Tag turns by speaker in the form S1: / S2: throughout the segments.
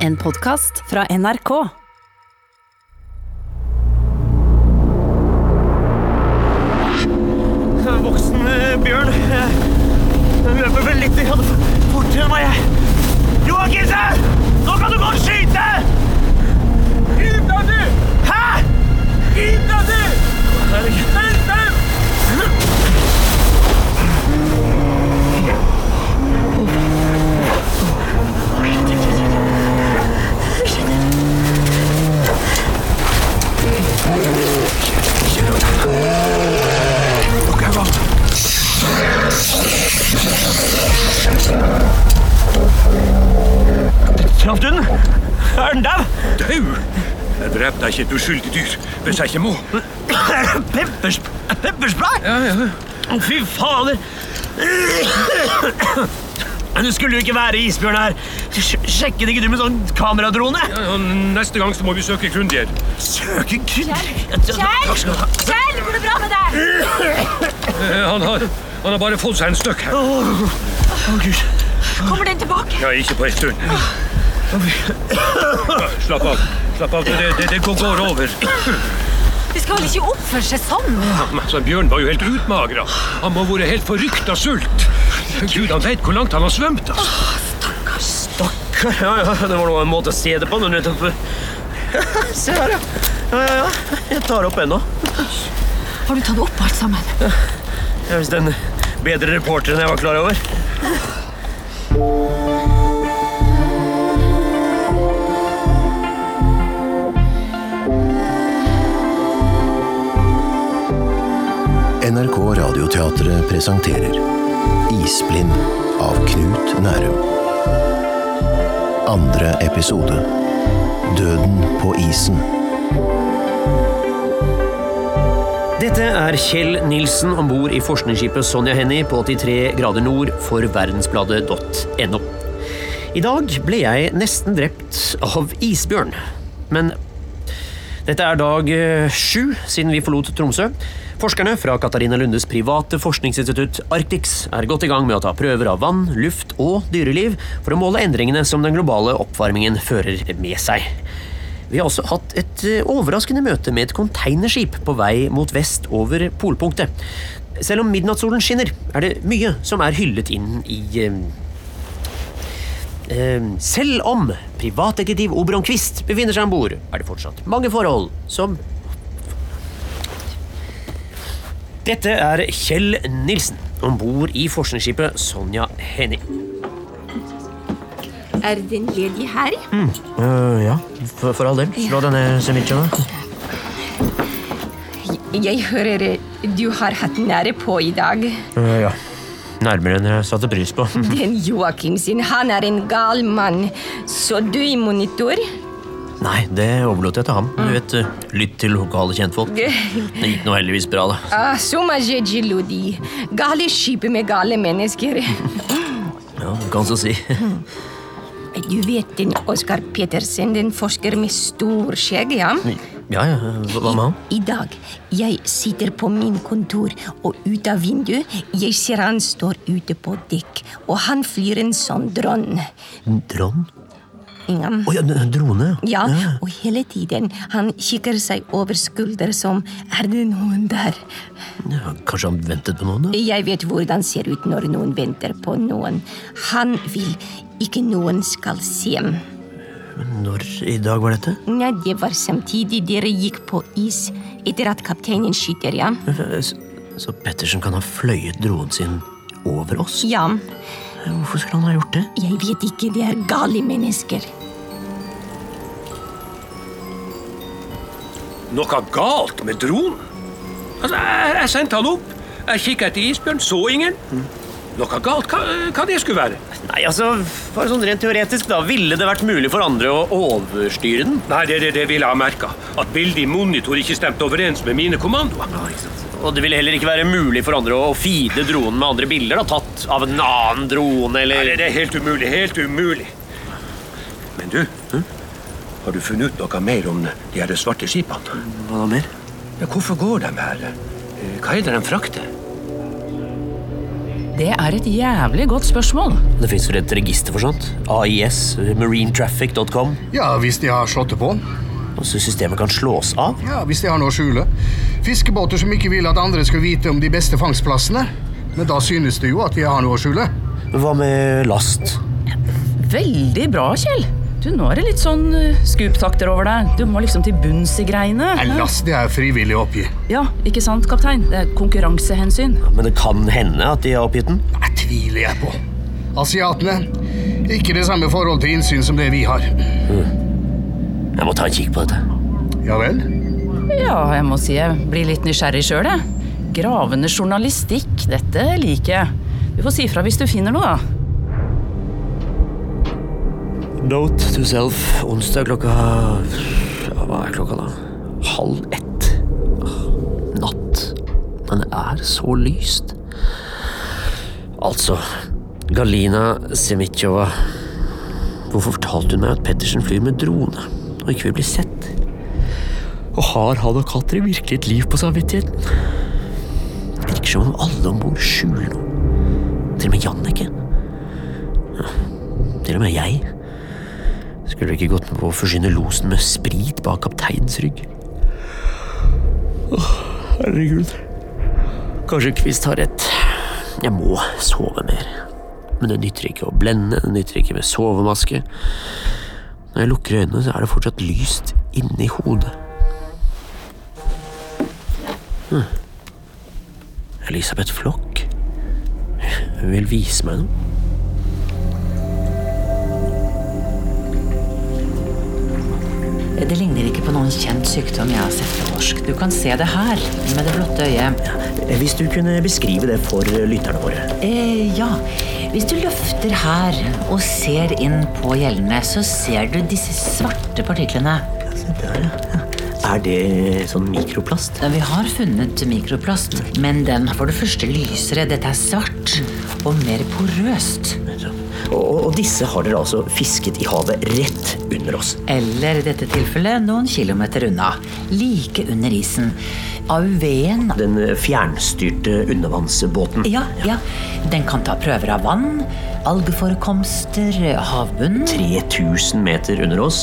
S1: En podkast fra NRK.
S2: voksen eh, bjørn. eh, Den løper vel litt ja, fortere enn meg. jeg. Joakimse! Nå kan du godt skyte! Gi deg, du! Hæ? Gi deg, du! Vent dem! Traff du den? Er den dau?
S3: Au! Jeg drepte ikke et uskyldig dyr hvis jeg ikke må.
S2: Peppers, pepperspray?
S3: Ja, ja.
S2: Å, fy fader! Men det skulle jo ikke være isbjørn her. Sj- Sjekket ikke du med sånn kameradrone?
S3: Ja, ja, Neste gang så må vi søke grundigere.
S2: Søker kun...
S4: Kjell! Kjell, går det bra med deg?
S3: Eh, Han har, han har bare fått seg en støkk her.
S2: Å, Gud.
S4: Kommer den tilbake?
S3: Ja, ikke på en stund. Slapp av. Slapp av, det, det, det går, går over.
S4: De skal vel ikke oppføre seg sånn?
S3: Altså, Bjørn var jo helt utmagra. Han må ha vært helt forrykt av sult. Gud, han vet hvor langt han har svømt. Altså.
S2: Stakkar. Ja, ja, det var noe en måte å se det på. men nettopp. Se her, ja. Ja, ja, ja. Jeg tar opp ennå.
S4: Har du tatt opp alt sammen?
S2: Jeg er visst en bedre reporter enn jeg var klar over.
S5: NRK Radioteatret presenterer Isblind av Knut Nærum. Andre episode Døden på isen.
S2: Dette er Kjell Nilsen om bord i forskningsskipet Sonja Hennie på 83 grader nord for verdensbladet.no. I dag ble jeg nesten drept av isbjørn. Men dette er dag eh, sju siden vi forlot Tromsø. Forskerne fra Katarina Lundes private forskningsinstitutt Arctix er godt i gang med å ta prøver av vann, luft og dyreliv for å måle endringene som den globale oppvarmingen fører med seg. Vi har også hatt et eh, overraskende møte med et containerskip på vei mot vest over polpunktet. Selv om midnattssolen skinner, er det mye som er hyllet inn i eh, Ehm, Selv om privatdetektiv Oberon Quist befinner seg om bord, er det fortsatt mange forhold som Dette er Kjell Nilsen om bord i forskningsskipet Sonja Hennie.
S4: Er den ledig her?
S2: Eh, ja, for, all del. Slå denne semicha.
S4: Jeg hører eh, du har hatt nære på i dag.
S2: Eh, ja. Nærmere enn jeg satte pris på.
S4: Den Joakim sin, han er en gal mann. Så du i monitor?
S2: Nei, det overlot jeg til ham. Du vet, eh, Lytt til lokale kjentfolk. Det gikk nå heldigvis bra, da.
S4: Ah, Som er Jeji Lodi. Gale skip med gale mennesker.
S2: Ja, du kan så si.
S4: Du vet den Oskar Petersen, den forsker med stor skjegg, ja?
S2: Ja, ja. Hva hva med han?
S4: I dag, jeg sitter på min kontor, og ut av vinduet, jeg ser han står ute på dekk, og han flyr en sånn dronn.
S2: Dron?
S4: Inga.
S2: Å ja, en drone.
S4: Ja, og hele tiden, han kikker seg over skulder som, er det noen der?
S2: Ja, kanskje han ventet på noen? da?
S4: Jeg vet hvordan ser ut når noen venter på noen. Han vil ikke noen skal se.
S2: Når i dag var dette?
S4: Nei, det var samtidig dere gikk på is, etter at kapteinen skyter, ja.
S2: Så, så Pettersen kan ha fløyet dronen sin over oss?
S4: Ja,
S2: Hvorfor skulle han ha gjort det?
S4: jeg vet ikke, det er gale mennesker.
S3: Noe galt med dronen? Altså, jeg, jeg sendte han opp. Jeg kikket etter isbjørn, så
S2: Mm.
S3: ingen. Noe galt? Hva, hva det skulle være?
S2: Nei, altså, bare sånn rent teoretisk, da. Ville det vært mulig for andre å overstyre den?
S3: Nei, det, det, det ville jeg ha merka. At bildet i monitor ikke stemte overens med mine kommandoer.
S2: Og det ville heller ikke være mulig for andre å feede dronen med andre bilder, da, tatt av en annen drone,
S3: Nei,
S2: eller
S3: det, det er helt umulig. Helt umulig. Men du, hm? har du funnet ut noe mer om de her svarte skipene?
S2: Hva da mer?
S3: Ja, hvorfor går de her? Eh, Hva er det de frakter?
S6: Det er et jævlig godt spørsmål.
S2: Det fins vel et register for sånt? AIS, marinetraffic.com.
S7: Ja, hvis de har slått det på.
S2: Så Altså, systemet kan slås av?
S7: Ja, Hvis de har noe å skjule. Fiskebåter som ikke vil at andre skal vite om de beste fangstplassene. Men da synes det jo at vi har noe å skjule.
S2: Hva med last?
S6: Veldig bra, Kjell. Du, Nå er det litt sånn eh, scoop-takter over deg. Du må liksom til bunns i greiene.
S7: Nei, Last det er frivillig å oppgi.
S6: Ja, ikke sant, kaptein? Det er konkurransehensyn.
S2: Men det kan hende at de har oppgitt den?
S7: Det tviler jeg på. Asiatene ikke det samme forhold til innsyn som det vi har.
S2: Jeg må ta en kikk på dette.
S7: Ja vel?
S6: Ja, jeg må si jeg blir litt nysgjerrig sjøl, jeg. Gravende journalistikk, dette liker jeg. Du får si fra hvis du finner noe, da.
S2: Note to self. Onsdag klokka ja, Hva er klokka, da? Halv ett. Åh, Natt. Men det er så lyst. Altså Galina Semitsjova. Hvorfor fortalte hun meg at Pettersen flyr med drone og ikke vil bli sett? Og har han og Katri virkelig et liv på samvittigheten? Det virker som om alle om bord skjuler noe. Til og med Jannicke. Ja, Til og med jeg. Skulle ikke gått med på å forsyne losen med sprit bak kapteinens rygg. Åh, herregud. Kanskje Kvist har rett. Jeg må sove mer. Men det nytter ikke å blende, det nytter ikke med sovemaske. Når jeg lukker øynene, så er det fortsatt lyst inni hodet. Hm. Elisabeth Flokk? Hun vil vise meg noe.
S8: Det ligner ikke på noen kjent sykdom jeg har sett på norsk. Du kan se det her, med det blotte øyet.
S2: Hvis du kunne beskrive det for lytterne våre.
S8: Eh, ja, hvis du løfter her og ser inn på gjellene, så ser du disse svarte partiklene.
S2: Er det sånn mikroplast?
S8: Vi har funnet mikroplast, men den er for det første lysere. Dette er svart og mer porøst.
S2: Og, og disse har dere altså fisket i havet rett under oss.
S8: Eller i dette tilfellet noen kilometer unna. Like under isen. AUV-en
S2: Den eh, fjernstyrte undervannsbåten.
S8: ja, ja. Den kan ta prøver av vann, algeforekomster, havbunnen.
S2: 3000 meter under oss.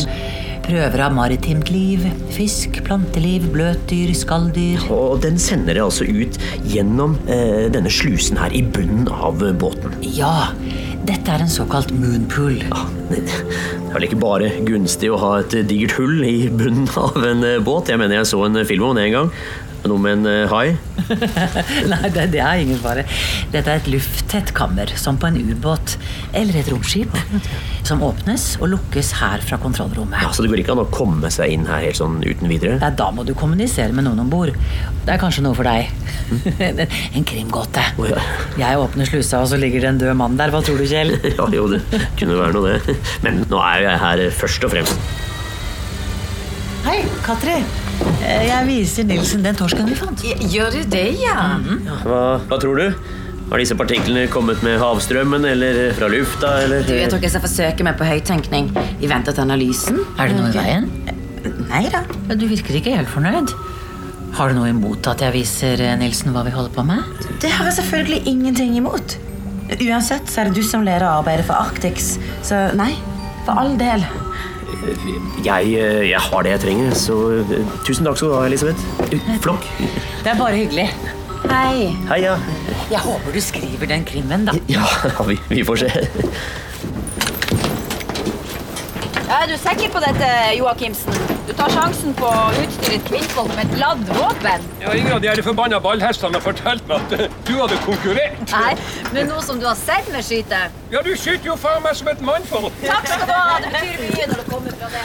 S8: Prøver av maritimt liv, fisk, planteliv, bløtdyr, skalldyr.
S2: Og den sender dere altså ut gjennom eh, denne slusen her i bunnen av eh, båten.
S8: Ja, dette er en såkalt moonpool.
S2: Ah, Det det er vel ikke bare gunstig å ha et eh, digert hull i bunnen av en eh, båt. Jeg mener jeg så en eh, film om det en gang. Noe med en eh, hai.
S8: Nei, det, det er ingen fare. Dette er et lufttett kammer, som på en ubåt eller et romskip, som åpnes og lukkes her fra kontrollrommet.
S2: Så det går ikke an å komme seg inn her helt sånn uten videre.
S8: Nei, da må du kommunisere med noen om bord. Det er kanskje noe for deg. En- en krimgåte.
S2: Å, ja.
S8: Jeg åpner slusa, og så ligger det en død mann der. Hva tror du, Kjell?
S2: Ja, jo, det kunne være noe, det. Men nå er jo jeg her eh, først og fremst.
S8: Hei, Katri. Eh, Jeg viser Nilsen den torsken vi fant.
S9: Gjør du det, ja?
S2: Hva, hva tror du? Har disse partiklene kommet med havstrømmen eller fra lufta? Eller?
S9: Du, Jeg tror ikke jeg skal forsøke meg på høyttenkning. Vi venter til analysen.
S8: Er det noe i veien?
S9: Nei da.
S8: Ja, Du virker ikke helt fornøyd. Har du noe imot at jeg viser eh, Nilsen hva vi holder på med?
S9: Det har jeg selvfølgelig ingenting imot. Uansett så er det du som leder arbeidet for Arctics, så nei. For all del.
S2: Jeg, eh, jeg har det jeg trenger, så eh, tusen takk skal du ha, Elisabeth. Eh, Flokk.
S8: Det er bare hyggelig.
S9: Hei.
S2: Hei, ja.
S8: Jeg håper du skriver den krimmen, da.
S2: Ja, vi, vi får se.
S10: Er du sikker på dette, Joakimsen? Du tar sjansen på å utstyre et kvinnfolk med et ladd våpen?
S3: Ja, ingen av de her forbanna ballhestene har fortalt meg at eh, du hadde konkurrert.
S10: Nei, men nå som du har sett meg skyte.
S3: Ja, du skyter jo faen meg som et mannfolk.
S10: Takk skal du ha. Det betyr mye når du kommer fra det.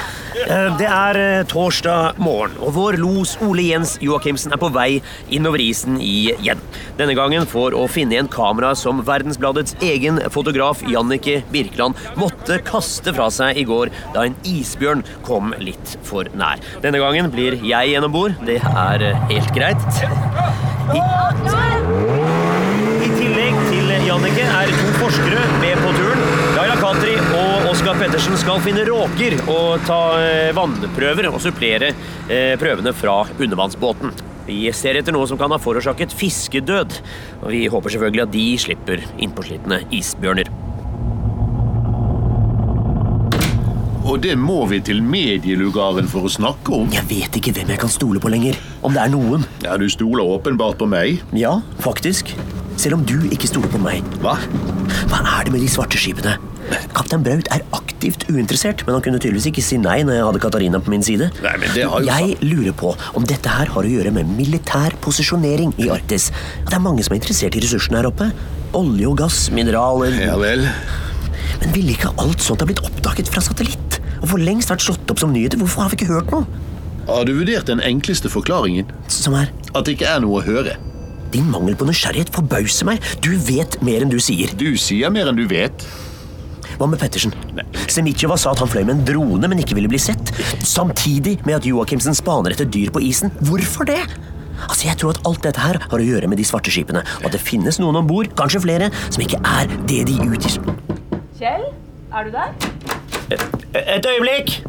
S2: Det er eh, torsdag morgen, og vår los Ole Jens Joakimsen er på vei innover isen igjen. Denne gangen for å finne igjen kamera som Verdensbladets egen fotograf Jannicke Birkeland måtte kaste fra seg i går da en isbjørn kom litt for nær. Denne gangen blir jeg gjennom bord. Det er eh, helt greit. I tillegg til Jannicke er to forskere med på turen. Laila Katri og Oskar Pettersen skal finne råker og ta eh, vannprøver og supplere eh, prøvene fra undervannsbåten. Vi ser etter noe som kan ha forårsaket fiskedød, og vi håper selvfølgelig at de slipper innpåslitne isbjørner.
S11: Og det må vi til medielugaren for å snakke om.
S2: Jeg vet ikke hvem jeg kan stole på lenger. Om det er noen.
S11: Ja, Du stoler åpenbart på meg.
S2: Ja, faktisk. Selv om du ikke stoler på meg.
S11: Hva?
S2: Hva er det med de svarte skipene? Kaptein Braut er aktivt uinteressert, men han kunne tydeligvis ikke si nei når jeg hadde Katarina på min side.
S11: Nei, men det har jo
S2: Jeg lurer på om dette her har å gjøre med militær posisjonering i Arktis. At det er mange som er interessert i ressursene her oppe. Olje og gass, mineraler
S11: Ja vel.
S2: Men ville ikke alt sånt ha blitt oppdaget fra satellitt? Og for lengst vært slått opp som nyheter? Hvorfor har vi ikke hørt noe?
S11: Har du vurdert den enkleste forklaringen?
S2: Som er?
S11: At det ikke er noe å høre.
S2: Din mangel på nysgjerrighet forbauser meg. Du vet mer enn du sier.
S11: Du sier mer enn du vet.
S2: Hva med Pettersen? Semicheva sa at han fløy med en drone, men ikke ville bli sett. Samtidig med at Joachimsen spaner etter dyr på isen. Hvorfor det? Altså, Jeg tror at alt dette her har å gjøre med de svarte skipene. Og at det finnes noen om bord, kanskje flere, som ikke er det de utgir.
S12: Kjell, er du der?
S2: Eh, Et øyeblikk!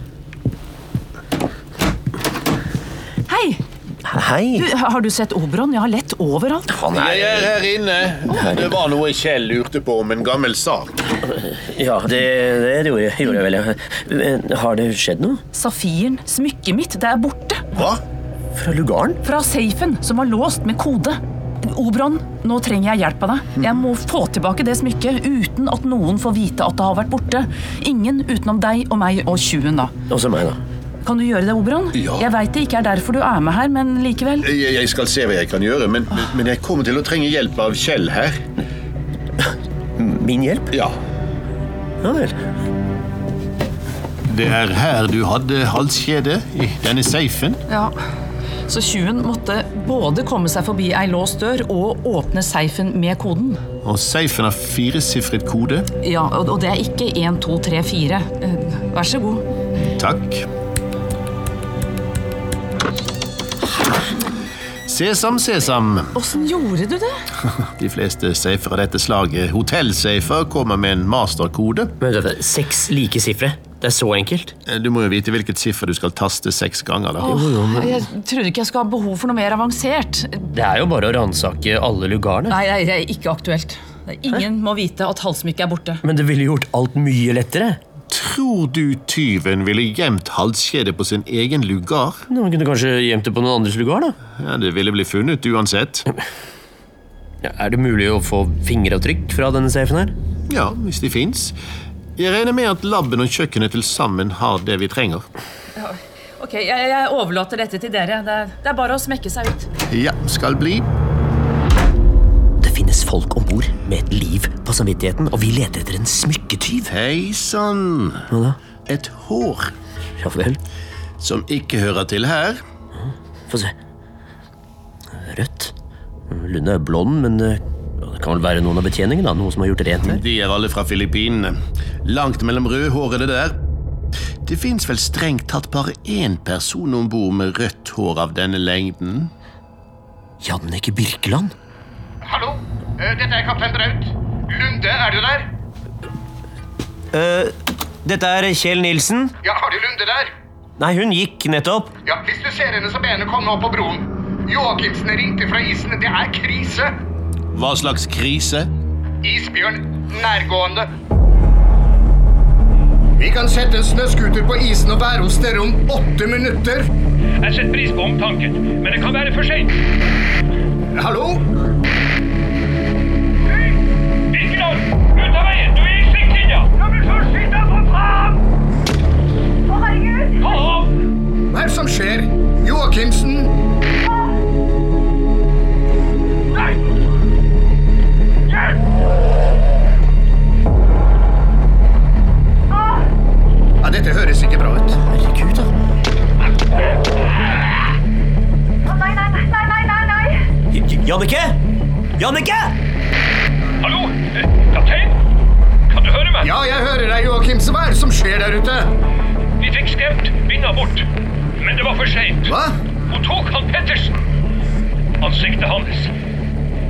S6: Hei!
S2: Hei.
S6: Du, har du sett Oberon? Jeg har lett overalt.
S2: Han
S11: Jeg er her inne. Det var noe Kjell lurte på om en gammel sak.
S2: Ja, det, det gjorde, jeg, gjorde jeg vel, ja. Men Har det skjedd noe?
S6: Safiren, smykket mitt, det er borte.
S11: Hva?
S2: Fra lugaren?
S6: Fra safen, som var låst med kode. Oberon, nå trenger jeg hjelp av deg. Jeg må få tilbake det smykket uten at noen får vite at det har vært borte. Ingen utenom deg og meg og tjuven, da.
S2: Også meg, da.
S6: Kan du gjøre det, Oberon?
S11: Ja.
S6: Jeg veit det ikke er derfor du er med her, men likevel.
S11: Jeg, jeg skal se hva jeg kan gjøre, men, men jeg kommer til å trenge hjelp av Kjell her.
S2: Min hjelp?
S11: Ja.
S2: Ja vel.
S11: Det er her du hadde halskjedet? I denne safen?
S6: Ja. Så tjuven måtte både komme seg forbi ei låst dør og åpne safen med koden.
S11: Og safen har firesifret kode.
S6: Ja, og og det er ikke 1, 2, 3, 4. Eh, Vær så god.
S11: Takk. Sesam, sesam.
S6: Åssen gjorde du det?
S11: De fleste safer av dette slaget, hotellsafer, kommer med en masterkode. Eh,
S2: Men dette, Seks like sifre? Det er så enkelt?
S11: Du må jo vite hvilket siffer du skal taste seks ganger. da.
S6: Åh, jeg trodde ikke jeg skulle ha behov for noe mer avansert.
S2: Det er jo bare å ransake alle lugarene.
S6: Nei, nei, det er ikke aktuelt. Ingen må vite at halsmykket er borte.
S2: Men det ville gjort alt mye lettere.
S11: Tror du tyven ville gjemt halskjedet på sin egen lugar?
S2: Man kunne kanskje gjemt det på noen andres lugar, da.
S11: Ja, Det ville bli funnet uansett.
S2: Ja, Er det mulig å få fingeravtrykk fra denne safen her?
S11: Ja, hvis de fins. Jeg regner med at laben og kjøkkenet til sammen har det vi trenger.
S6: Ok, jeg, overlater dette til dere. Det er, bare å smekke seg ut.
S11: Ja, skal bli.
S2: Det finnes folk om bord med et liv på samvittigheten, og vi leter etter en smykketyv.
S11: Hei sann!
S2: Hva da?
S11: Et hår
S2: Ja vel.
S11: som ikke hører til her.
S2: Få se. Rødt. Lunde er blond, men eh, det kan vel være noen av betjeningen, da. Noen som har gjort rent her.
S11: De er alle fra Filippinene. Langt mellom rødhårede der. Det fins vel strengt tatt bare én person om bord med rødt hår av denne lengden?
S2: Jannicke Birkeland?
S7: Hallo, eh, dette er kaptein Braut. Lunde, er du der?
S2: Dette er Kjell Nilsen.
S7: Ja, har du Lunde der?
S2: Nei, hun gikk nettopp.
S7: Ja, hvis du ser henne, så be henne komme opp på broen. Joakimsen ringte fra isen. Det er krise.
S11: Hva slags krise?
S7: Isbjørn nærgående. Vi kan sette en snøskuter på isen og være hos dere om åtte minutter.
S3: Jeg setter pris på omtanken, men det kan være for seint.
S7: Hallo?
S3: Birkeland, ut av veien! Du er i siktlinja! Ja, men så skyt deg for faen! Å, herregud! Ta av!
S7: Hva er det som skjer? Joakimsen?
S3: Nei! Hjelp!
S7: Ja, dette høres ikke bra ut.
S2: Herregud, da.
S13: Nei, nei, nei, nei, nei, nei, nei!
S2: Jannicke! Jannicke!
S3: Hallo? Eh, Kaptein? Kan du høre meg?
S7: Ja, jeg hører deg, Joakimsen. Hva er det som skjer der ute?
S3: Vi fikk skremt vinga bort, men det var for seint.
S7: Hva?
S3: Hun tok han Pettersen. Ansiktet hans.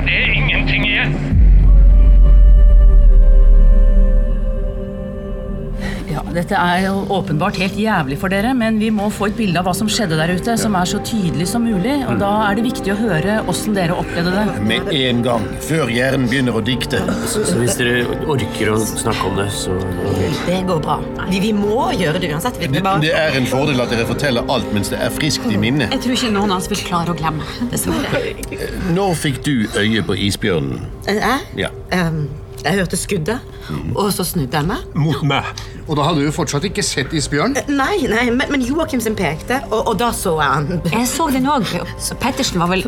S3: Det er ingenting igjen.
S6: Ja, Dette er jo åpenbart helt jævlig for dere, men vi må få et bilde av hva som skjedde der ute, som er så tydelig som mulig.
S11: Mm.
S6: Og da er det viktig å høre åssen dere opplevde det.
S11: Med en gang, før hjernen begynner å dikte.
S2: Så hvis dere orker å snakke om det, så
S8: Det går bra. Vi, vi må gjøre det uansett. Vi, vi
S11: Det,
S8: bare...
S11: det er en fordel at dere forteller alt mens det er friskt i minnet.
S9: Jeg tror ikke noen av oss vil klare å glemme. Dessverre.
S11: Når fikk du øye på isbjørnen?
S9: Jeg,
S11: Ja.
S9: ehm, jeg hørte skuddet, og så snudde jeg meg.
S7: Mot meg. Og da hadde du fortsatt ikke sett isbjørn?
S9: Nei, nei, men, men Joakim sin pekte, og, og da så jeg han. Jeg så den òg. Pettersen var vel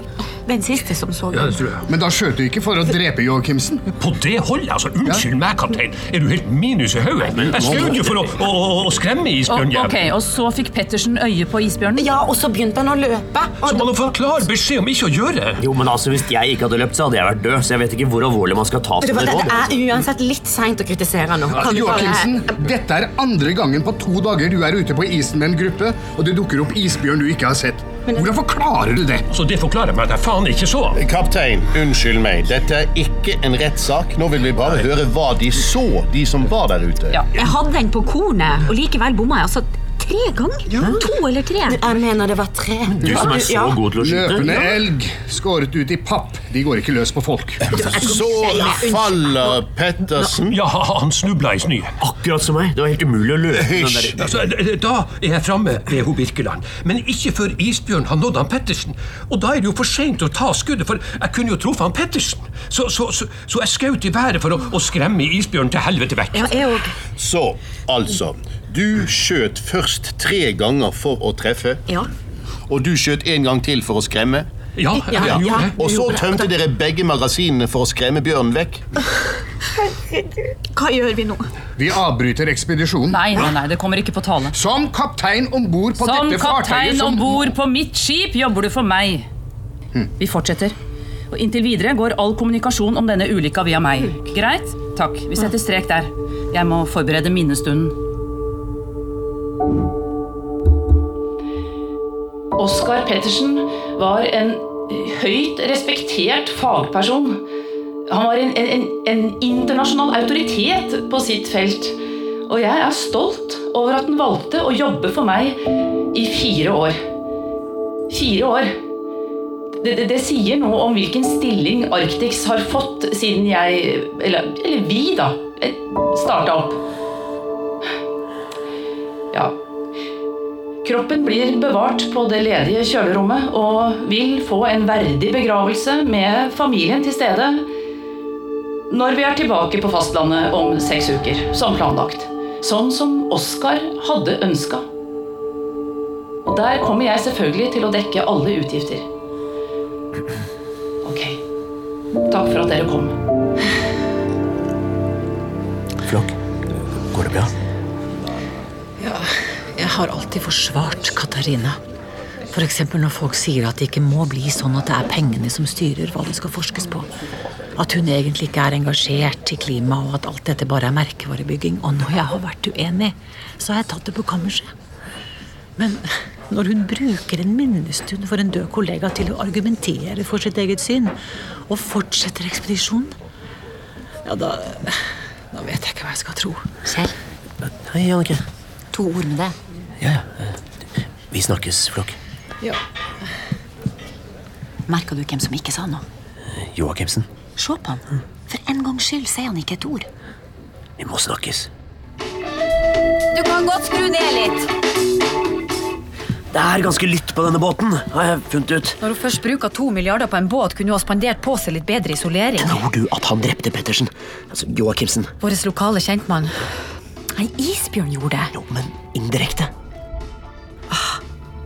S9: den siste som så den.
S7: Men da skjøt du ikke for å drepe Joakimsen?
S3: På det holdet, altså. Unnskyld meg, kaptein. Er du helt minus i hodet? Jeg skjøt jo for å, å, å, å skremme
S6: Og,
S3: isbjørnjævelen.
S6: ok, og så fikk Pettersen øye på isbjørnen?
S9: Ja, og så begynte han å løpe.
S3: Så man får klar beskjed om ikke å gjøre det.
S2: Jo, men altså, Hvis jeg ikke hadde løpt, så hadde jeg vært død. Så jeg vet ikke hvor alvorlig man skal ta
S9: Vet du
S2: det
S9: hva,
S2: nå.
S9: Det er uansett litt seint å kritisere nå. Kan du bare-
S7: Joakimsen, dette er andre gangen på to dager du er ute på isen med en gruppe, og det dukker opp isbjørn du ikke har sett. Hvordan forklarer du det?
S3: Så det forklarer meg at jeg faen ikke så.
S11: Kaptein, unnskyld meg. Dette er ikke en rettssak. Nå vil vi bare høre hva de så, de som var der ute.
S9: Jeg hadde den på kornet, og likevel bomma jeg. altså Tre ganger? To eller tre? Jeg mener det var tre.
S7: Løpende elg skåret ut i papp. De går ikke løs på folk.
S11: Så faller Pettersen.
S3: Ja, han snubla i snø.
S2: Akkurat som meg. Det var helt umulig å løpe. den der-
S3: Hysj! Altså, da er jeg framme ved ho Birkeland. Men ikke før isbjørn har nådd han Pettersen. Og da er det jo for seint å ta skuddet, for jeg kunne jo truffet han Pettersen. Så, så, så, så jeg skjøt i været for å, å skremme isbjørnen til helvete vekk.
S11: Så, altså. Du skjøt først tre ganger for å treffe.
S9: Ja.
S11: Og du skjøt en gang til for å skremme.
S3: Ja, jeg Ja, gjorde ja. det.
S11: Og så tømte dere begge magasinene for å skremme bjørnen vekk.
S9: Hva gjør vi nå?
S7: Vi avbryter ekspedisjonen.
S6: Nei, nei, nei, det kommer ikke på tale.
S7: Som kaptein om bord på
S6: Som
S7: dette fartøyet
S6: kaptein
S7: som- Hm.
S6: om bord på mitt skip jobber du for meg. Vi fortsetter. Og inntil videre går all kommunikasjon om denne ulykka via meg. Greit? Takk. Vi setter strek der. Jeg må forberede minnestunden. Oskar Pettersen var en høyt respektert fagperson. Han var en, en, en, en internasjonal autoritet på sitt felt. Og jeg er stolt over at han valgte å jobbe for meg i fire år. Fire år. Det, det, det sier noe om hvilken stilling Arctix har fått siden jeg Eller, eller vi, da. Starta opp. Ja. Kroppen blir bevart på det ledige kjølerommet og vil få en verdig begravelse med familien til stede når vi er tilbake på fastlandet om seks uker, som planlagt. Sånn som Oskar hadde ønska. Og der kommer jeg selvfølgelig til å dekke alle utgifter. Ok. Takk for at dere kom.
S2: Flokk, går det bra?
S9: Ja.
S8: Jeg har alltid forsvart Katarina. F.eks. når folk sier at det ikke må bli sånn at det er pengene som styrer hva det skal forskes på. At hun egentlig ikke er engasjert i klima, og at alt dette bare er merkevarebygging. Og når jeg har vært uenig, så har jeg tatt det på kammerset. Men når hun bruker en minnestund for en død kollega til å argumentere for sitt eget syn, og fortsetter ekspedisjonen, ja, da, da vet jeg ikke hva jeg skal tro.
S9: Kjell,
S2: Hei, Jannicke.
S9: to ord med deg.
S2: Ja, ja. Vi snakkes, Flokk.
S9: Ja.
S10: Merka du hvem som ikke sa noe?
S2: Joakimsen,
S10: Se på han. For en gangs skyld sier han ikke et ord.
S2: vi må snakkes.
S4: Du kan godt skru ned litt.
S2: Det er ganske lytt på denne båten, har jeg funnet ut.
S10: Når hun først bruker to milliarder på en båt, kunne hun ha spandert på seg litt bedre isolering.
S2: Tror du at han drepte Pettersen? Altså Joakimsen.
S10: Vår lokale kjentmann. Nei, isbjørn gjorde det. Jo,
S2: men indirekte.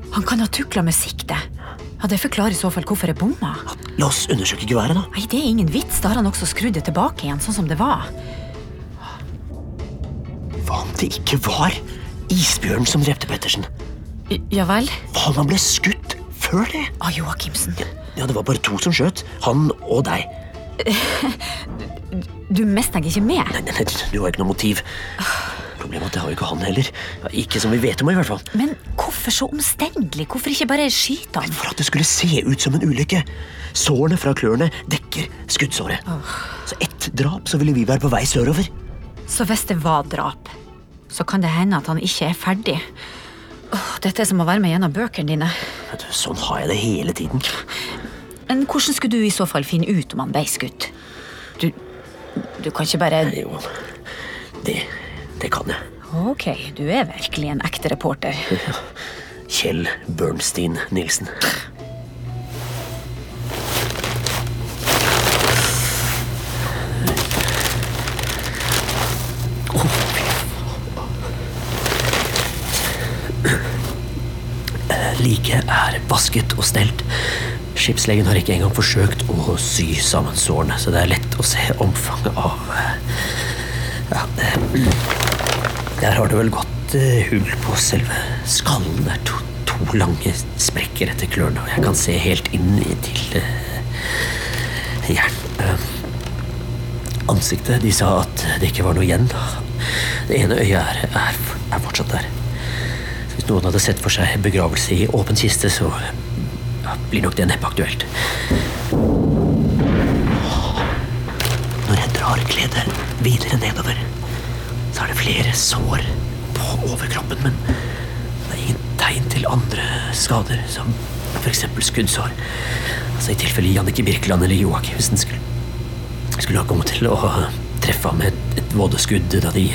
S10: Han kan ha tukla med siktet. Ja, Det forklarer i så fall hvorfor jeg bomma.
S2: La oss undersøke geværet, da.
S10: Nei, Det er ingen vits. Da har han også skrudd det tilbake igjen, sånn som det var.
S2: Hva om det ikke var isbjørnen som drepte Pettersen?
S10: Ja vel? Ah,
S2: Hva om han ble skutt før det?
S10: Av Joakimsen.
S2: Ja, det var bare to som skjøt. Han og deg.
S10: Du mister deg ikke med.
S2: Nei, nei, nei, Du har jo ikke noe motiv. Problemet er at det har jo ikke han heller. Ja, Ikke som vi vet om, i hvert fall.
S10: Men hvorfor så omstendelig? Hvorfor ikke bare skyte han?
S2: For at det skulle se ut som en ulykke. Sårene fra klørne dekker skuddsåret. Så ett drap, så ville vi være på vei sørover.
S10: Så hvis det var drap, så kan det hende at han ikke er ferdig. Åh, dette er som å være med gjennom bøkene dine.
S2: Sånn har jeg det hele tiden.
S10: Men hvordan skulle du i så fall finne ut om han ble skutt? Du, du kan ikke bare
S2: Jo, det, det kan jeg.
S10: Ok, du er virkelig en ekte reporter.
S2: Kjell Bernstein Nilsen. Liket er vasket og stelt. Skipslegen har ikke engang forsøkt å sy sammen sårene, så det er lett å se omfanget av eh, ja, eh, Der har det vel gått eh, hull på selve skallen. Det er to, to lange sprekker etter klørne, og jeg kan se helt inn i til eh, hjernen. Eh, Ansiktet De sa at det ikke var noe igjen. Det ene øyet er, er, er fortsatt der. Hvis noen hadde sett for seg begravelse i åpen kiste, så ja, blir nok det neppe aktuelt. Når jeg drar kledet videre nedover, så er det flere sår på overkroppen, men det er ingen tegn til andre skader, som f.eks. skuddsår. Altså I tilfelle Jannicke Birkeland eller Joakimsen skulle, skulle ha kommet til å treffe ham med et, et vådeskudd da de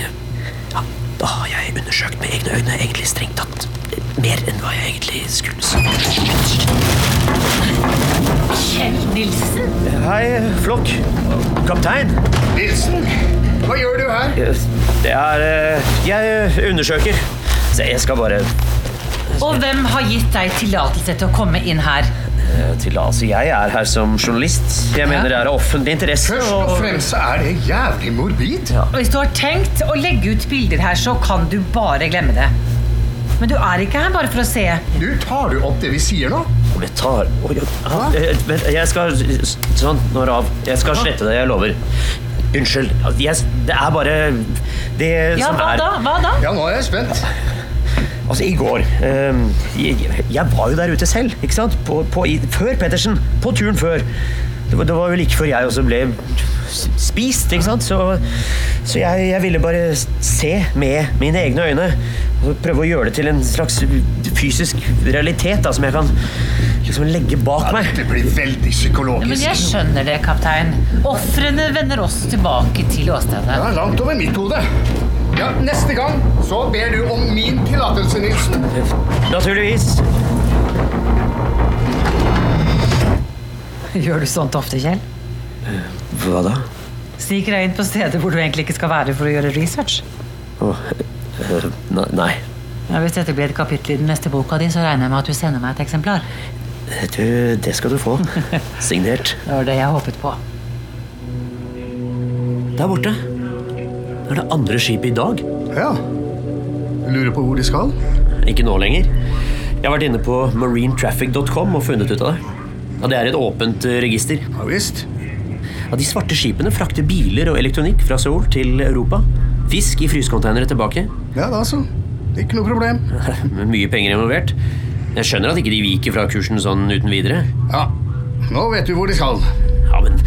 S2: da har jeg undersøkt med egne øyne egentlig strengt tatt mer enn hva jeg egentlig skulle si.
S14: Kjell Nilsen?
S2: Hei, flokk. Kaptein?
S7: Nilsen? Hva gjør du her?
S2: Det er eh, Jeg undersøker. Se, jeg skal bare
S8: Og hvem har gitt deg tillatelse til å komme inn her?
S2: eh, til Altså, jeg er her som journalist. Jeg mener det er av offentlig interesse.
S7: Først og fremst er det jævlig morbid.
S8: Og Hvis du har tenkt å legge ut bilder her, så kan du bare glemme det. Men du er ikke her bare for å se.
S7: Du, tar du opp det vi sier nå?
S2: Ole tar Oi, oi, ah, eh, Vent, jeg skal Sånn, nå er det av. Jeg skal slette det, jeg lover. Unnskyld. Altså, Jeg, det er bare det
S8: Ja,
S2: som
S8: hva
S2: er
S8: da? Hva da?
S7: Ja, nå er jeg spent.
S2: Altså, i går eh, jeg, jeg var jo der ute selv, ikke sant? På, på, i, før Pettersen. På turen før. Det var, det var jo like før jeg også ble s- spist, ikke sant? Så, så jeg, jeg ville bare se med mine egne øyne. Og prøve å gjøre det til en slags fysisk realitet da, som jeg kan liksom legge bak meg.
S7: Det blir veldig
S8: Ja, men
S7: psykologisk.
S8: jeg skjønner det, kaptein. Ofrene vender oss tilbake til åstedet.
S7: Ja, langt over mitt hode. Ja, Neste gang så ber du om min tillatelse, Nilsen.
S2: Naturligvis.
S8: Gjør du sånt ofte, Kjell?
S2: Hva da?
S8: Sniker deg inn på steder hvor du egentlig ikke skal være for å gjøre research?
S2: nei.
S8: Ja, hvis dette blir et kapittel i den neste boka di, så regner jeg med at du sender meg et eksemplar.
S2: Du, det skal du få. Signert.
S8: Det var det jeg håpet på.
S2: Der borte. Det er det andre skipet i dag.
S7: Ja. Lurer på hvor de skal?
S2: Ikke nå lenger. Jeg har vært inne på marinetraffic.com og funnet ut av det. Ja, det er et åpent eh, register.
S7: Ja, visst.
S2: Ja, de svarte skipene frakter biler og elektronikk fra Seoul til Europa. Fisk i frysekonteinere tilbake.
S7: Ja da, så. Ikke noe problem.
S2: Med mye penger involvert. Jeg skjønner at ikke de viker fra kursen sånn uten videre.
S7: Ja, nå vet du hvor de skal.
S2: Ja, men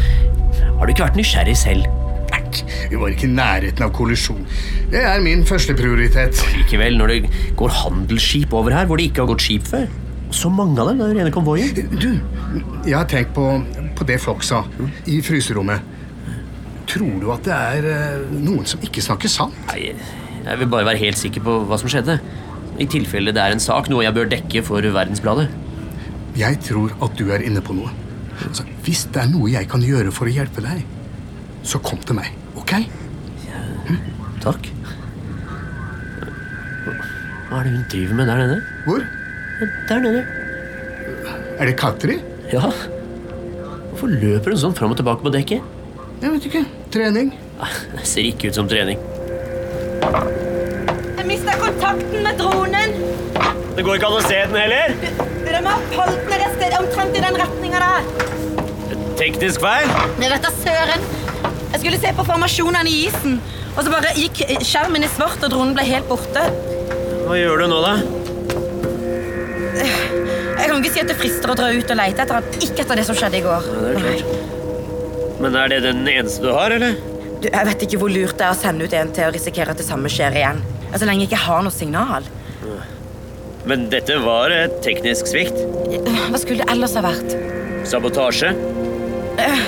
S2: har du ikke vært nysgjerrig selv?
S7: Erk, vi var ikke i nærheten av kollisjon. Det er min første prioritet.
S2: Likevel, når det går handelsskip over her hvor det ikke har gått skip før. Og Så mange av dem. Det er rene konvoier.
S7: Du, jeg har tenkt på, på det Flokk sa i fryserommet. Tror du at det er eh, noen som ikke snakker sant?
S2: Nei, jeg vil bare være helt sikker på hva som skjedde. I tilfelle det er en sak, noe jeg bør dekke for Verdensbladet.
S7: Jeg tror at du er inne på noe. Altså, hvis det er noe jeg kan gjøre for å hjelpe deg, så kom til meg, ok?
S2: Takk. Hva er det hun driver med der nede?
S7: Hvor?
S2: Der nede.
S7: Er det Katri?
S2: Ja. Hvorfor løper hun sånn fram og tilbake på dekket?
S7: Jeg vet ikke. Trening?
S2: Det ser ikke ut som trening.
S9: Jeg mista kontakten med dronen.
S2: Det går ikke an å se den heller.
S9: Dere må ha holdt den et sted omtrent i den retninga der.
S2: Teknisk feil.
S9: Jeg vet da søren. Jeg skulle se på formasjonene i isen, og så bare gikk skjermen i svart, og dronen ble helt borte.
S2: Hva gjør du nå, da?
S9: Jeg kan ikke si at det frister å dra ut og lete etter han, ikke etter det som skjedde i går.
S2: Ja, det er klart. Men er det den eneste du har, eller?
S9: Du, jeg vet ikke hvor lurt det er å sende ut en til å risikere at det samme skjer igjen. Så lenge jeg ikke har noe signal.
S2: Men dette var et teknisk svikt.
S9: Hva skulle det ellers ha vært?
S2: Sabotasje?
S9: Eh,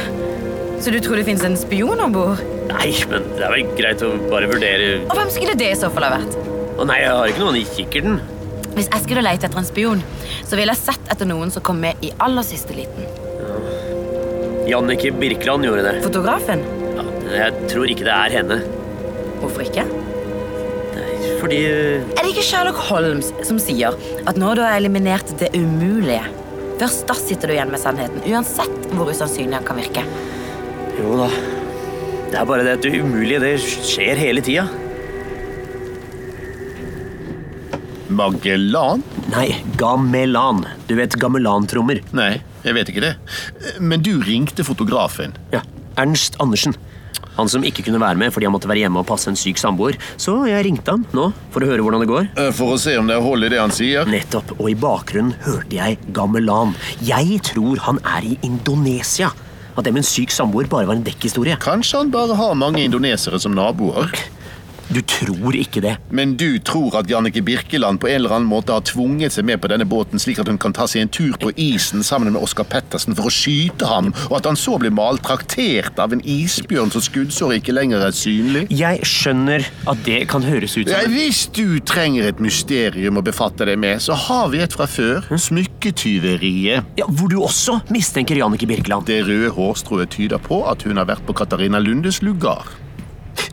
S9: Så du tror det finnes en spion om bord?
S2: Nei, men det er vel greit å bare vurdere
S9: Og hvem skulle det i så fall ha vært?
S2: Å nei, jeg har ikke noen i kikkerten.
S9: Hvis jeg skulle lete etter en spion, så ville jeg sett etter noen som kom med i aller siste liten.
S2: Jannicke Birkeland gjorde det.
S9: Fotografen?
S2: Men Jeg tror ikke det er henne.
S9: Hvorfor ikke?
S2: Fordi
S9: Er det ikke Sherlock Holmes som sier at når du har eliminert det umulige, først da sitter du igjen med sannheten, uansett hvor usannsynlig han kan virke?
S2: Jo da. Det er bare det at det umulige det skjer hele tida.
S11: Magellan?
S2: Nei, gamelan. Du vet gamelantrommer?
S11: Nei, jeg vet ikke det. Men du ringte fotografen.
S2: Ja, Ernst Andersen. Han som ikke kunne være med fordi han måtte være hjemme og passe en syk samboer. Så jeg ringte han nå for å høre hvordan det går.
S11: Eh, For å se om det er hold i det han sier.
S2: Nettopp. Og i bakgrunnen hørte jeg gamelan. Jeg tror han er i Indonesia. At det med en syk samboer bare var en dekkhistorie.
S11: Kanskje han bare har mange indonesere som naboer?
S2: Du tror ikke det.
S11: Men du tror at Jannicke Birkeland på en eller annen måte har tvunget seg med på denne båten, slik at hun kan ta seg en tur på isen sammen med Oskar Pettersen for å skyte ham, og at han så blir maltraktert av en isbjørn så skuddsåret ikke lenger er synlig?
S2: Jeg skjønner at det kan høres ut som
S11: Ja, hvis du trenger et mysterium å befatte deg med, så har vi et fra før. Smykketyveriet.
S2: Ja, Hvor du også mistenker Jannicke Birkeland.
S11: Det røde hårstrået tyder på at hun har vært på Katarina Lundes lugar.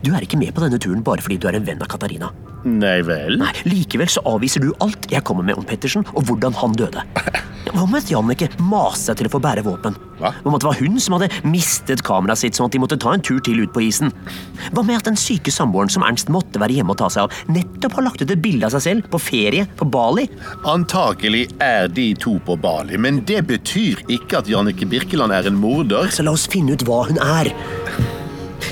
S2: Du er ikke med på denne turen bare fordi du er en venn av Katarina.
S11: Nei vel?
S2: Nei, Likevel så avviser du alt jeg kommer med om Pettersen og hvordan han døde. Ja, Hva med at Jannicke maste seg til å få bære våpen? Hva? Om at det var hun som hadde mistet kameraet sitt, sånn at de måtte ta en tur til ut på isen? Hva med at den syke samboeren som Ernst måtte være hjemme og ta seg av, nettopp har lagt ut et bilde av seg selv på ferie på Bali?
S11: Antakelig er de to på Bali, men det betyr ikke at Jannicke Birkeland er en morder.
S2: Så la oss finne ut hva hun er.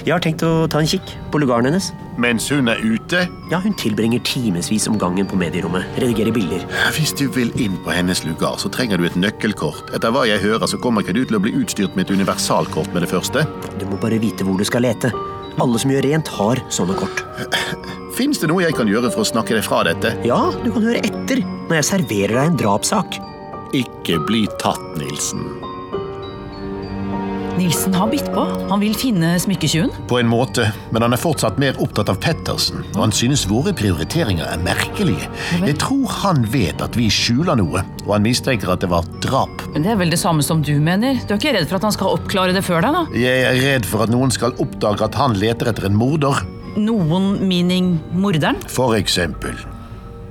S2: Jeg har tenkt å ta en kikk på lugaren hennes.
S11: Mens hun er ute?
S2: Ja, Hun tilbringer timevis om gangen på medierommet. Redigerer bilder.
S11: Hvis du vil inn på hennes lugar, så trenger du et nøkkelkort. Etter hva jeg hører, så kommer ikke du til å bli utstyrt med et universalkort med det første.
S2: Du må bare vite hvor du skal lete. Alle som gjør rent, har sånne kort.
S11: Fins det noe jeg kan gjøre for å snakke deg fra dette?
S2: Ja, du kan høre etter når jeg serverer deg en drapssak.
S11: Ikke bli tatt, Nilsen.
S6: Nilsen har bitt på. Han vil finne smykketjuven.
S11: På en måte, men han er fortsatt mer opptatt av Pettersen, og han synes våre prioriteringer er merkelige. Jeg tror han vet at vi skjuler noe, og han mistenker at det var drap.
S6: Men Det er vel det samme som du mener? Du er ikke redd for at han skal oppklare det før deg, da?
S11: Jeg er redd for at noen skal oppdage at han leter etter en morder.
S6: Noen meaning morderen?
S11: For eksempel.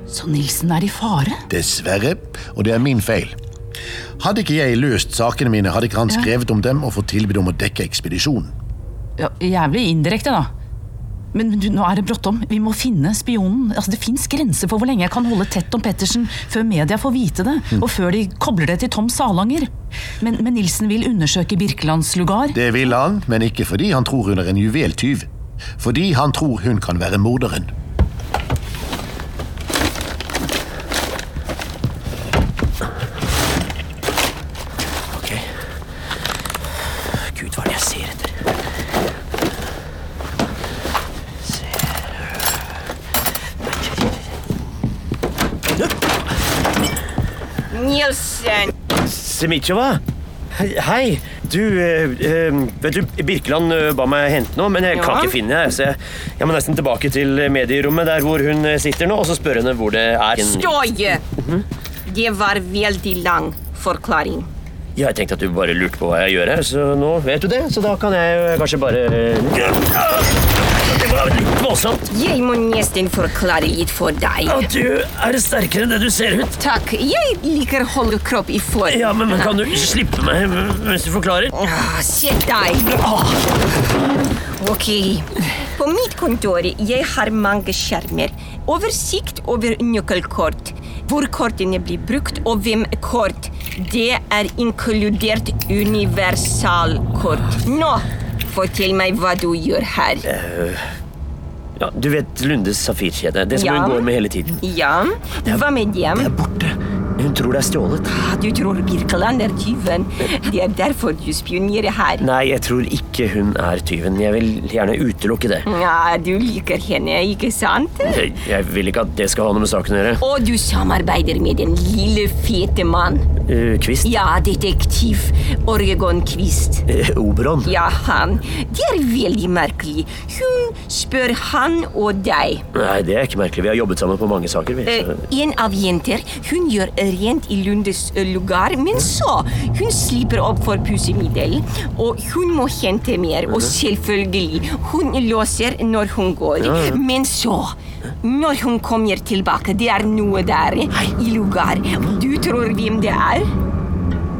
S6: Så Nilsen er i fare?
S11: Dessverre, og det er min feil. Hadde ikke jeg løst sakene mine, hadde ikke han
S6: Ja.
S11: skrevet om dem og fått tilbud om å dekke ekspedisjonen.
S6: Ja, jævlig indirekte, da. Men men du, nå er det bråttom. Vi må finne spionen. Altså, det fins grenser for hvor lenge jeg kan holde tett om Pettersen før media får vite det,
S8: Mm.
S6: og før de kobler det til Tom Salanger. Men, men Nilsen vil undersøke Birkelands lugar.
S11: Det vil han, men ikke fordi han tror hun er en juveltyv. Fordi han tror hun kan være morderen.
S2: Ok. Gud, hva er det jeg ser etter?
S4: Nielsen!
S2: Semichova? Hei. Du, eh, eh, vet du, Birkeland eh, ba meg hente noe, men jeg kan
S4: Ja.
S2: ikke finne det. Så jeg, jeg må nesten tilbake til medierommet der hvor hun eh, sitter nå, og så spørre henne hvor det er. en-
S4: Støye! Det var veldig lang forklaring.
S2: Ja, jeg tenkte at du bare lurte på hva jeg gjør her, så nå vet du det. Så da kan jeg eh, kanskje bare Det var litt voldsomt.
S4: Jeg må nesten forklare litt for deg.
S2: Ja, du er sterkere enn det du ser ut.
S4: Takk. Jeg liker å holde kropp i form.
S2: Ja, men kan du slippe meg mens du forklarer?
S4: Ah, Se deg. Ok. På mitt kontor jeg har mange skjermer. Oversikt over nøkkelkort. Hvor kortene blir brukt, og hvem kort. Det er inkludert universalkort. Nå, fortell meg hva du gjør her.
S2: Eh, Ja, du vet Lundes safirkjede. Det som
S4: Ja.
S2: hun går med hele tiden.
S4: Ja, hva med det? Det
S2: er borte. Hun tror det er stjålet.
S4: Ah, Du tror Birkeland er tyven. Det er derfor du spionerer her.
S2: Nei, jeg tror ikke hun er tyven. Jeg vil gjerne utelukke det.
S4: Ja, du liker henne, ikke sant?
S2: Jeg- Jeg vil ikke at det skal ha noe med saken å gjøre.
S4: Og du samarbeider med den lille, fete mann.
S2: Eh, Kvist?
S4: Ja, detektiv Oregon Kvist.
S2: Eh, Oberon?
S4: Ja, han. Det er veldig merkelig. Hun spør han og deg.
S2: Nei, det er ikke merkelig. Vi har jobbet sammen på mange saker. Vi.
S4: Eh,
S2: så-
S4: en av jenter hun gjør rent i Lundes eh, lugar, men så hun slipper opp for pusemiddel, og hun må hente mer, og
S12: Mhm.
S4: selvfølgelig, hun låser når hun går,
S12: Ja, ja.
S4: men så, når hun kommer tilbake, det er noe der i lugar. Du tror hvem det er?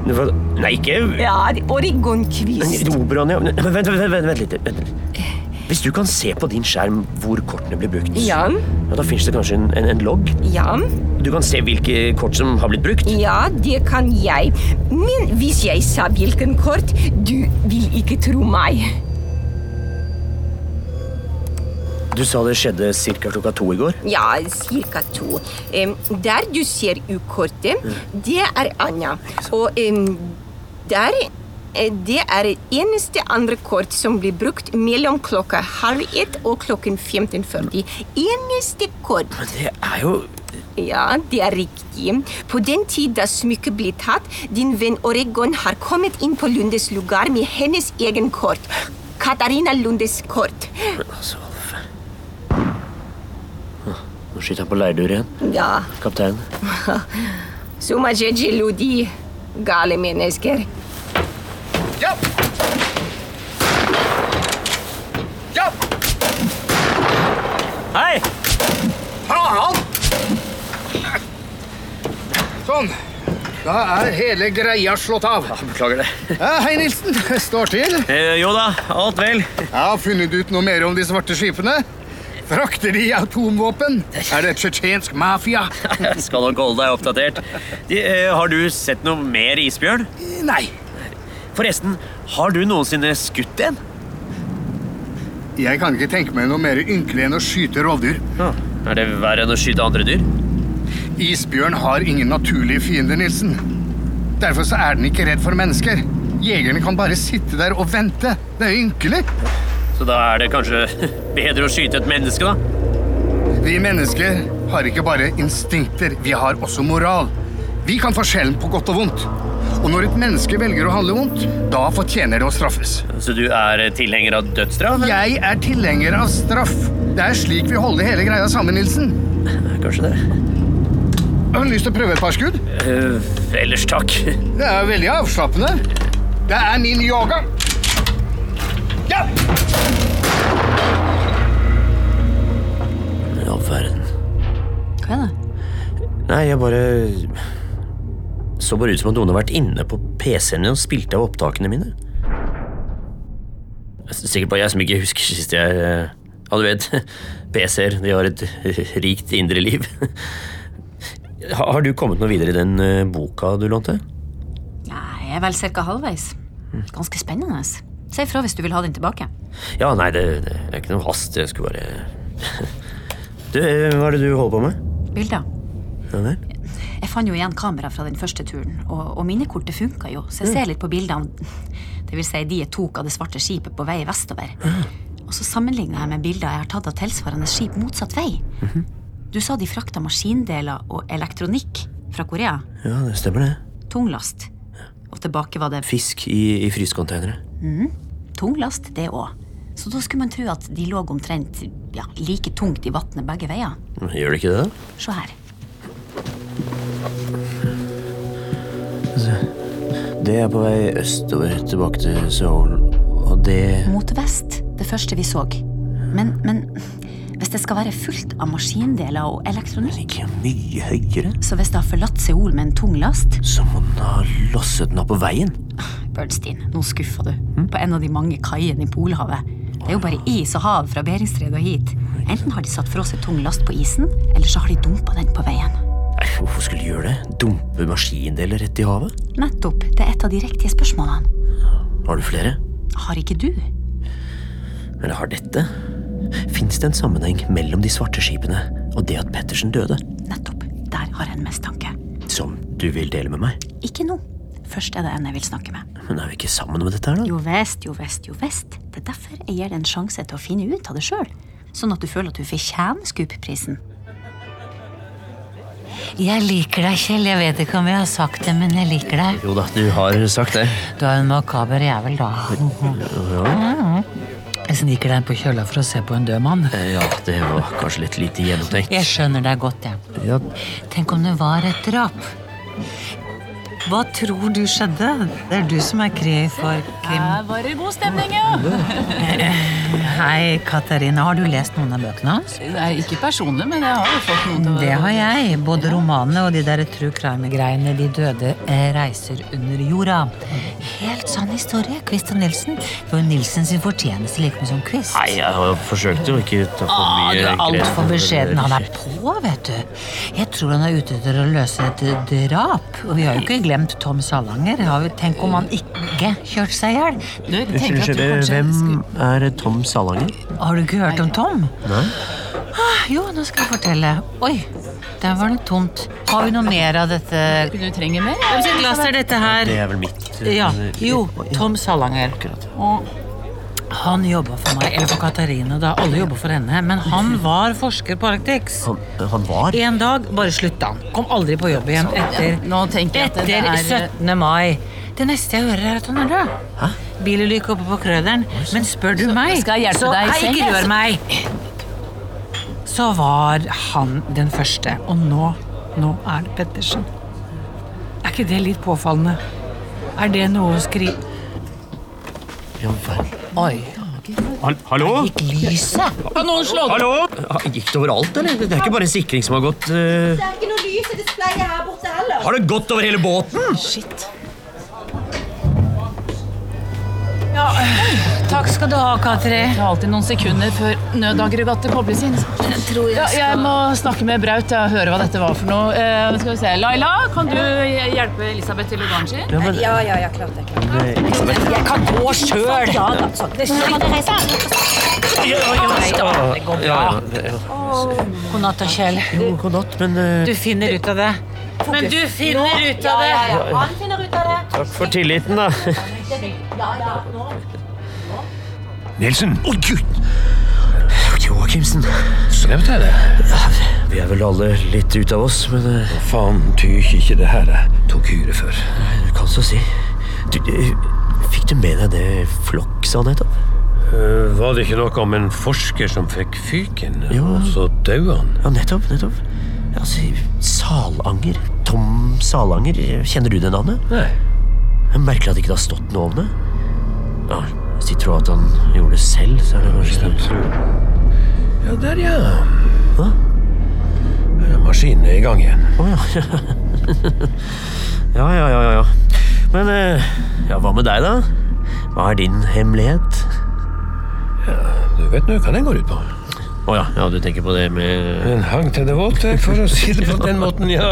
S2: Hva- Nei, ikke
S4: Ja, Oregon Kvist.
S2: Oberon, ja. Men vent, vent, vent, vent litt. Vent. litt. Hvis du kan se på din skjerm hvor kortene blir brukt,
S4: Ja.
S2: ja, da finnes det kanskje en, en, en logg?
S4: Ja.
S2: Du kan se hvilke kort som har blitt brukt?
S4: Ja, det kan jeg. Men hvis jeg sa hvilken kort, du vil ikke tro meg.
S2: Du sa det skjedde ca. klokka to i går?
S4: Ja, cirka to. Em, der du ser U-kortet, det er Anja. Og em, der eh, det er det eneste andre kort som blir brukt mellom klokka halv ett og klokken 15.40. Eneste kort.
S2: Det er jo
S4: Ja, det er riktig. På den tid da smykket ble tatt, din venn Oregon har kommet inn på Lundes lugar med hennes egen kort. Katarina Lundes kort.
S2: Men altså, Alf. Åh, Nå skyter han på leirdur igjen.
S4: Ja.
S2: Kaptein.
S4: Så mye gelodi, gale mennesker.
S13: Ja! Ja!
S2: Hei!
S7: Faen! Sånn. Da er hele greia slått av.
S2: Beklager det.
S7: Ja, hei, Nilsen. Står til?
S2: Eh, jo da, alt vel.
S7: Jeg har funnet ut noe mer om de svarte skipene. Frakter de atomvåpen? Er det tsjetsjensk mafia?
S2: Skal nok holde deg oppdatert. De, eh, har du sett noe mer isbjørn?
S7: Nei.
S2: Forresten, har du noensinne skutt en?
S7: Jeg kan ikke tenke meg noe mer ynkelig enn å skyte rovdyr.
S2: Er det verre enn å skyte andre dyr?
S7: Isbjørn har ingen naturlige fiender, Nilsen. Derfor så er den ikke redd for mennesker. Jegerne kan bare sitte der og vente. Det er ynkelig.
S2: Så da er det kanskje bedre å skyte et menneske, da?
S7: Vi mennesker har ikke bare instinkter, vi har også moral. Vi kan forskjellen på godt og vondt. Og når et menneske velger å handle vondt, da fortjener det å straffes.
S2: Så du er tilhenger av dødsstraff?
S7: Jeg er tilhenger av straff. Det er slik vi holder hele greia sammen, Nilsen.
S2: Kanskje det.
S7: Har du lyst til å prøve et par skudd?
S2: Eh, ellers takk.
S7: Det er veldig avslappende. Det er min yoga. Ja!
S2: Ja, verden.
S15: Hva er det?
S2: Nei, jeg bare Så bare ut som at noen har vært inne på PC-en min og spilt av opptakene mine. Det er Sikkert bare jeg som ikke husker sist jeg eh, Ja, du vet, PC-er, de har et rikt indre liv. Ha- Har du kommet noe videre i den eh, boka du lånte?
S10: Nei, jeg er vel cirka halvveis. Ganske spennende. Si ifra hvis du vil ha den tilbake.
S2: Ja, nei, det, det er ikke noe hast. Jeg skulle bare Du, eh, hva er det du holder på med?
S10: Bilder.
S2: Ja, vel.
S10: Jeg fant jo igjen kamera fra den første turen, og, og minnekortet funka jo, så jeg ser litt på bildene. Det vil si de jeg tok av det svarte skipet på vei vestover. Og så sammenligna jeg med bilder jeg har tatt av tilsvarende skip motsatt vei.
S2: Mhm.
S10: Du sa de frakta maskindeler og elektronikk fra Korea.
S2: ja, det stemmer, det.
S10: Tunglast. Og tilbake var det
S2: Fisk i, i frysekonteinere.
S10: Mhm. Tunglast, det òg. Så da skulle man tro at de lå omtrent ja, like tungt i vannet begge veier.
S2: Gjør det ikke det, da?
S10: Se her.
S2: Det er på vei østover, tilbake til Seoul, og det
S10: Mot vest, det første vi så. Men, men hvis det skal være fullt av maskindeler og elektronikk
S2: Mye høyere.
S10: Så hvis det har forlatt Seoul med en tung last
S2: Så må den ha losset den av på veien.
S10: Birdstein, nå skuffer du. På en av de mange kaiene i Polhavet. Det er jo bare is og hav fra Beringstredet og hit. Enten har de satt frosset tung last på isen, eller så har de dumpa den på veien.
S2: Nei, hvorfor skulle de gjøre det? Dumpe maskindeler rett i havet?
S10: Nettopp. Det er et av de riktige spørsmålene.
S2: Har du flere?
S10: Har ikke du?
S2: Eller har dette? Fins det en sammenheng mellom de svarte skipene og det at Pettersen døde?
S10: Der har jeg en mistanke.
S2: Som du vil dele med meg?
S10: Ikke nå. Først er det en jeg vil snakke med.
S2: Men er vi ikke sammen om dette her, da?
S10: Jo visst, jo visst, jo visst. Det er derfor jeg gir deg en sjanse til å finne ut av det sjøl. Sånn at du føler at du fortjener Scoop-prisen.
S8: Jeg liker deg, Kjell. Jeg vet ikke om jeg har sagt det, men jeg liker deg.
S2: Jo da, du har sagt det.
S8: Du er en makaber jævel, da.
S2: Ja.
S8: Jeg sniker deg inn på kjøla for å se på en død mann.
S2: ja, det var kanskje litt lite gjennomtenkt.
S8: Jeg skjønner deg godt, jeg.
S2: Ja.
S8: Tenk om det var et drap. Hva tror du skjedde? Det er du som er kri for krim.
S16: Her var det god stemning, jo!
S8: Hei, Katarina. Har du lest noen av bøkene hans?
S16: Nei, ikke personlig, men jeg har jo fått noen til å
S8: Det har jeg. Både romanene og de der true crime-greiene. De døde eh, reiser under jorda. Helt sann historie. Quiz og Nilsen. Det var jo Nilsen sin fortjeneste like mye som Quiz.
S2: Nei, jeg har forsøkt å ikke ta for
S8: Ah,
S2: mye
S8: du er
S2: grep.
S8: altfor beskjeden. Han er på, vet du. Jeg tror han er ute etter å løse et drap. Og vi har jo ikke glemt Tom Salanger. Har vi, tenk om han ikke kjørte seg i hjel. Du, jeg tenker at
S2: Unnskyld,
S8: du
S2: eh,
S8: kanskje-
S2: hvem er Tom Salanger?
S8: Har du ikke hørt om Tom?
S2: Nei?
S8: Ah, jo, nå skal jeg fortelle. Oi, der var det tomt. Har vi noe mer av dette?
S16: Du trenger mer?
S8: Hvem sitt glass er dette her?
S2: Det er vel mitt. eh,
S8: Ja, jo, Tom Salanger. Og han jobba for meg, eller for Katarina, da. Alle jobba for henne. Men han var forsker på Arctix.
S2: Han, han var?
S8: En dag bare slutta han. Kom aldri på jobb igjen etter,
S16: det
S8: etter
S16: er-
S8: 17. mai. Det neste jeg hører, er at han er død. Bilulykke oppe på Krøderen. Men spør du meg,
S16: skal jeg hjelpe
S8: så
S16: deg altså. i
S8: Hei,
S16: seng,
S8: ikke
S16: jeg.
S8: rør meg! Så var han den første. Og nå, nå er det Pettersen. Er ikke det litt påfallende? Er det noe å skrive Oi.
S2: Hall- Hallo?
S8: Gikk lyset?
S16: Har noen slått?
S2: Hallo? Ah, Gikk det overalt, eller? Det er ikke bare en sikring som har gått eh,
S17: er ikke noe lys i displayet her borte heller.
S2: Har det gått over hele båten?
S8: Shit. Ja, takk skal du ha, Katri. Det
S16: er alltid noen sekunder før nødaggregatet kobles inn. Jeg, ja, jeg må snakke med Braut og høre hva dette var for noe. Eh, skal vi se. Laila, kan du hjelpe Elisabeth til lugansjer?
S2: Ja, men- Ja,
S16: ja, klart det.
S2: Jeg
S8: kan gå sjøl!
S16: Ja da.
S8: Det går bra. God natt, da, Kjell.
S2: Jo, god natt, men eh,
S8: Du finner ut av det. Men du finner ut av
S17: Ja, ja, ja.
S8: det!
S17: Han finner ut av det.
S2: Takk for tilliten, da.
S17: Ja, ja, nå.
S2: Nilsen! Å, gud! Joakimsen.
S18: Skrev jeg det?
S2: Vi er vel alle litt ute av oss, men eh,
S18: Faen tyr ikke det her jeg tok hyre for.
S2: Du kan så si. Du, eh, fikk du med deg det Flokk sa nettopp?
S3: Eh, var det ikke noe om en forsker som fikk fyken, og så døde han?
S2: Ja, nettopp. nettopp. Ja, Altså, Salanger. Tom Salanger. Kjenner du det navnet?
S3: Nei.
S2: Jeg merker at det ikke har stått noe om det. Ja, Hvis de tror at han gjorde det selv, så er det kanskje
S18: Ja, der, ja. Ja, Maskinen er i gang igjen.
S2: Å ja. ja, ja, ja, ja, ja. Men eh, ja, hva med deg, da? Hva er din hemmelighet?
S18: Ja, du vet nå hva den går ut på.
S2: Å ja. ja, du tenker på det med
S18: En hang til det våte, for å si det på den måten, ja.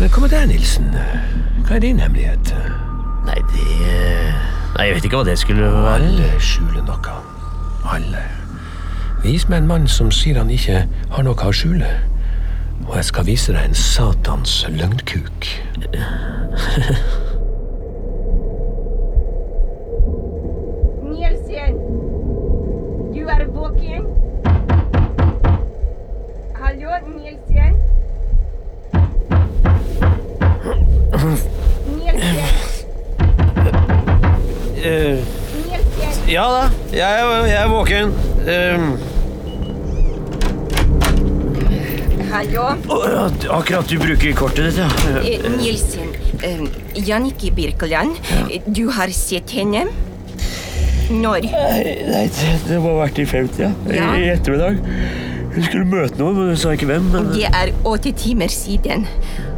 S18: Men hva med deg, Nilsen? Hva er din hemmelighet?
S2: Nei, det Nei, jeg vet ikke hva det skulle være.
S18: Alle skjuler noe. Alle. Vis meg en mann som sier han ikke har noe å skjule. Og jeg skal vise deg en satans løgnkuk.
S4: Nielsen, du er våken? Hallo, Nielsen? Nielsen,
S2: Eh,
S4: Nielsen.
S2: ja da, jeg, er- jeg er våken. Eh,
S4: Hallo?
S2: å, ja, akkurat du bruker kortet ditt, ja.
S4: Eh, Nielsen, eh, Jannicke Birkeland, eh, du har sett henne? Når?
S2: Nei, det, det må ha vært i 50,
S4: Ja.
S2: I ettermiddag. Hun skulle møte noen, men hun sa ikke hvem. Men...
S4: Det er åtte timer siden.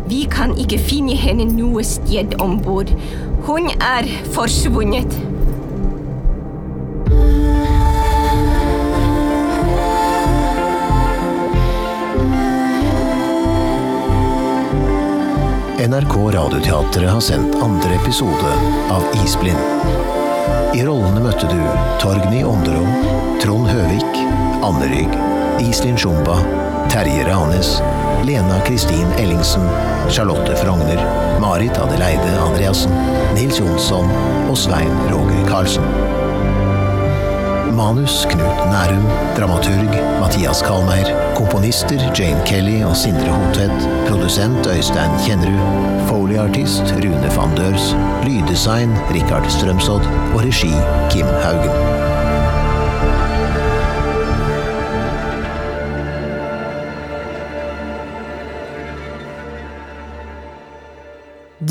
S4: Vi kan ikke finne henne noe sted om bord. Hun er forsvunnet.
S5: NRK Radioteatret har sendt andre episode av Isblind. I rollene møtte du Torgny Ånderom, Trond Høvik, Anne Rygg, Iselin Sjumba, Terje Ranes, Lena Kristin Ellingsen, Charlotte Frogner, Marit Adeleide Andreassen, Nils Jonsson og Svein Roger Karlsen. Manus Knut Nærum, dramaturg Mathias Kalmeier, komponister Jane Kelly og Sindre Hotvedt, produsent Øystein Kjennerud, folieartist Rune van Dørs, lyddesign Rikard Strømsodd og regi Kim Haugen.